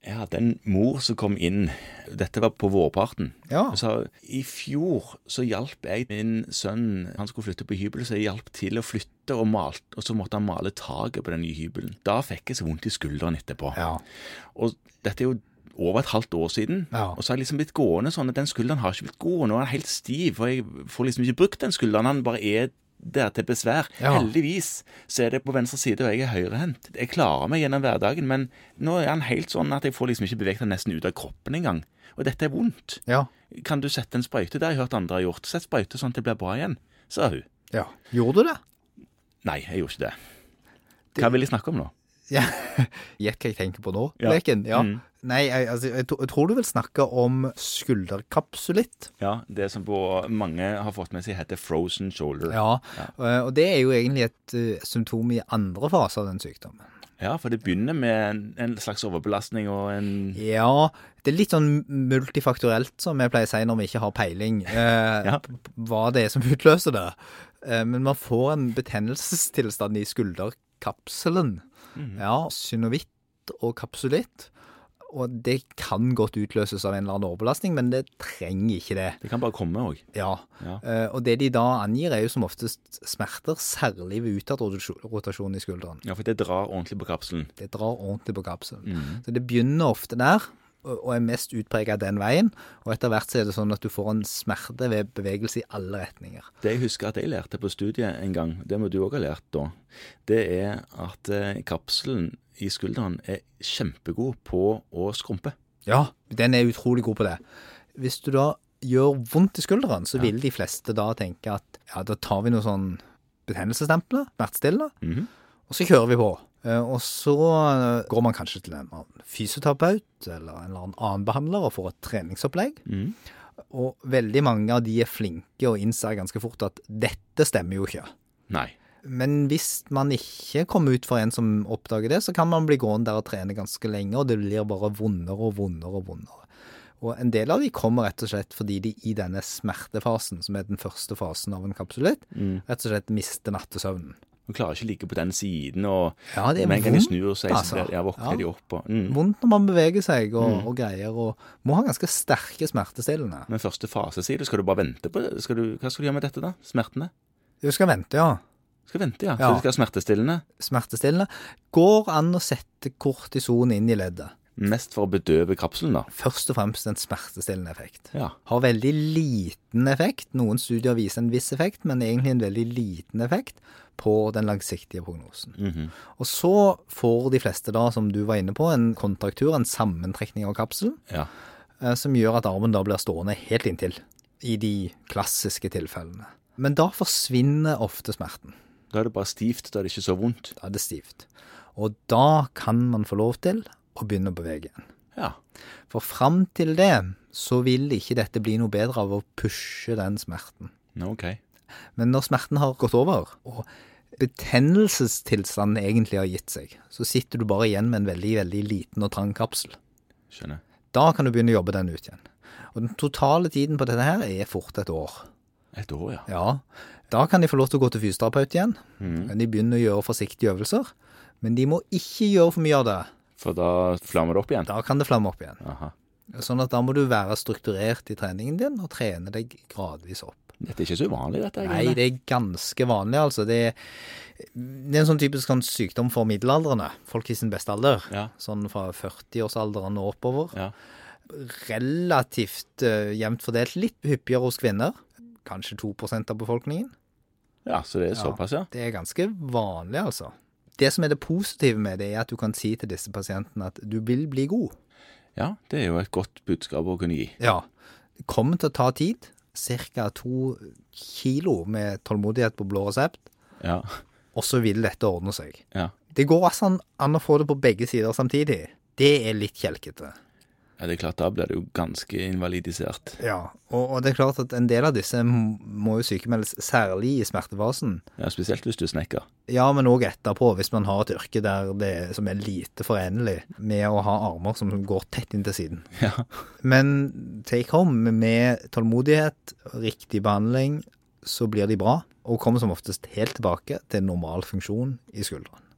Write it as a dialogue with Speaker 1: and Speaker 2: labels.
Speaker 1: Jeg hadde en mor som kom inn, dette var på vårparten,
Speaker 2: Ja.
Speaker 1: og sa i fjor så hjalp jeg min sønn, han skulle flytte på hybel, så jeg hjalp til å flytte og malte, og så måtte han male taket på den nye hybelen. Da fikk jeg så vondt i skulderen etterpå.
Speaker 2: Ja.
Speaker 1: Og dette er jo over et halvt år siden,
Speaker 2: Ja.
Speaker 1: og så har jeg liksom blitt gående sånn at den skulderen har ikke blitt god, og nå er den helt stiv, og jeg får liksom ikke brukt den skulderen, han bare er der til besvær.
Speaker 2: Ja.
Speaker 1: Heldigvis så er det på venstre side, og jeg er høyrehendt. Jeg klarer meg gjennom hverdagen, men nå er han helt sånn at jeg får liksom ikke beveget han nesten ut av kroppen engang. Og dette er vondt.
Speaker 2: Ja.
Speaker 1: Kan du sette en sprøyte? Det har jeg hørt andre har gjort. Sett sprøyte sånn at det blir bra igjen, sa hun.
Speaker 2: ja. Gjorde du det?
Speaker 1: Nei, jeg gjorde ikke det. Hva vil jeg snakke om nå?
Speaker 2: Ja. Gjett hva jeg tenker på nå,
Speaker 1: Ja.
Speaker 2: leken. Ja.
Speaker 1: Mm.
Speaker 2: Nei, jeg, altså, jeg, tro- jeg tror du vil snakke om skulderkapsulitt.
Speaker 1: Ja, det som på mange har fått med seg heter frozen shoulder.
Speaker 2: Ja. eh, Og det er jo egentlig et eh, symptom i andre fase av den sykdommen.
Speaker 1: Ja, for det begynner med en, en slags overbelastning og en
Speaker 2: Ja, det er litt sånn multifaktorelt, som jeg pleier å si når vi ikke har peiling, eh,
Speaker 1: Ja.
Speaker 2: p- p- hva det er som utløser det. Eh, men man får en betennelsestilstand i skulderkapselen. Ja, synovitt og kapsulitt. Og det kan godt utløses av en eller annen overbelastning, men det trenger ikke det.
Speaker 1: Det kan bare komme òg.
Speaker 2: Ja.
Speaker 1: Ja.
Speaker 2: Eh, og det de da angir, er jo som oftest smerter, særlig ved utad rotasjon- rotasjon i skulderen
Speaker 1: Ja, for det drar ordentlig på kapselen.
Speaker 2: det drar ordentlig på kapselen.
Speaker 1: Mm.
Speaker 2: Så det begynner ofte der, og og er mest utpreget den veien. Og etter hvert så er det sånn at du får en smerte ved bevegelse i alle retninger.
Speaker 1: Det jeg husker at jeg lærte på studiet en gang, det må du òg ha lært da, det er at eh, kapselen i skulderen er kjempegod på å skrumpe.
Speaker 2: Ja, den er utrolig god på det. Hvis du da gjør vondt i skulderen, så vil de fleste da tenke at ja, da tar vi noe sånn betennelsesstempler, smertestillende,
Speaker 1: Mhm.
Speaker 2: og så kjører vi på. Eh, Og så eh, går man kanskje til en eller annen fysioterapeut eller en eller annen annen behandler og får et treningsopplegg.
Speaker 1: Mhm.
Speaker 2: Og veldig mange av de er flinke og innser ganske fort at dette stemmer jo ikke.
Speaker 1: Nei.
Speaker 2: Men hvis man ikke kommer ut for en som oppdager det, så kan man bli gående der og trene ganske lenge, og det blir bare vondere og vondere og vondere. Og en del av de kommer rett og slett fordi de i denne smertefasen, som er den første fasen av en kapsulitt, rett og slett mister nattesøvnen.
Speaker 1: Du klarer ikke å ligge på den siden, og
Speaker 2: Ja, det er
Speaker 1: men kan de
Speaker 2: vondt,
Speaker 1: snur seg, så
Speaker 2: altså.
Speaker 1: blir- ja, våkner
Speaker 2: Ja.
Speaker 1: de opp. Og, mm.
Speaker 2: Vondt når man beveger seg og, og greier, og må ha ganske sterke smertestillende.
Speaker 1: Men første fase, sier du, skal du bare vente på det? Skal du, hva skal du gjøre med dette, da? Smertene?
Speaker 2: Du skal vente, ja.
Speaker 1: Skal vente, ja.
Speaker 2: Ja.
Speaker 1: Så du skal ha smertestillende?
Speaker 2: Smertestillende. Går an å sette kortison inn i leddet.
Speaker 1: Mest for å bedøve kapselen, da.
Speaker 2: Først og fremst en smertestillende effekt.
Speaker 1: Ja.
Speaker 2: Har veldig liten effekt. Noen studier viser en viss effekt, men egentlig en veldig liten effekt på den langsiktige prognosen.
Speaker 1: Mhm.
Speaker 2: Og så får de fleste da, som du var inne på, en kontraktur, en sammentrekning av kapselen,
Speaker 1: ja.
Speaker 2: eh, som gjør at armen da blir stående helt inntil, i de klassiske tilfellene. Men da forsvinner ofte smerten.
Speaker 1: Da er det bare stivt, da er det ikke så vondt.
Speaker 2: Da er det stivt. Og da kan man få lov til å begynne å bevege igjen.
Speaker 1: Ja.
Speaker 2: For fram til det så vil ikke dette bli noe bedre av å pushe den smerten.
Speaker 1: Nå, Ok.
Speaker 2: Men når smerten har gått over, og betennelsestilstanden egentlig har gitt seg, så sitter du bare igjen med en veldig, veldig liten og trang kapsel.
Speaker 1: Skjønner.
Speaker 2: Da kan du begynne å jobbe den ut igjen. Og den totale tiden på dette her er fort et år.
Speaker 1: Et år, ja.
Speaker 2: Ja, da kan de få lov til å gå til fysioterapeut igjen.
Speaker 1: Mm.
Speaker 2: Men de begynner å gjøre forsiktige øvelser. Men de må ikke gjøre for mye av det.
Speaker 1: For da flammer det opp igjen.
Speaker 2: Da kan det flamme opp igjen.
Speaker 1: Aha.
Speaker 2: Sånn at da må du være strukturert i treningen din og trene deg gradvis opp.
Speaker 1: Dette er ikke så uvanlig, dette.
Speaker 2: Nei, det er ganske vanlig, altså. Det er, det er en sånn typisk sånn sykdom for middelaldrende. Folk i sin beste alder.
Speaker 1: Ja.
Speaker 2: Sånn fra 40-årsalderen og oppover.
Speaker 1: Ja.
Speaker 2: Relativt eh, jevnt fordelt. Litt hyppigere hos kvinner. Kanskje 2 av befolkningen.
Speaker 1: ja, så det er såpass, ja.
Speaker 2: Det er ganske vanlig, altså. Det som er det positive med det, er at du kan si til disse pasientene at du vil bli god.
Speaker 1: Ja, det er jo et godt budskap å kunne gi.
Speaker 2: Ja. Det kommer til å ta tid. Ca. to kilo med tålmodighet på blå resept,
Speaker 1: Ja.
Speaker 2: og så vil dette ordne seg.
Speaker 1: Ja.
Speaker 2: Det går altså an- an å få det på begge sider samtidig. Det er litt kjelkete.
Speaker 1: ja, det er klart, da blir det jo ganske invalidisert.
Speaker 2: Ja, og, og det er klart at en del av disse m- må jo sykemeldes særlig i smertefasen.
Speaker 1: Ja, Spesielt hvis du snekker.
Speaker 2: Ja, men òg etterpå, hvis man har et yrke der det er, som er lite forenlig med å ha armer som går tett inn til siden.
Speaker 1: Ja.
Speaker 2: Men take home med tålmodighet, riktig behandling, så blir de bra, og kommer som oftest helt tilbake til normal funksjon i skulderen.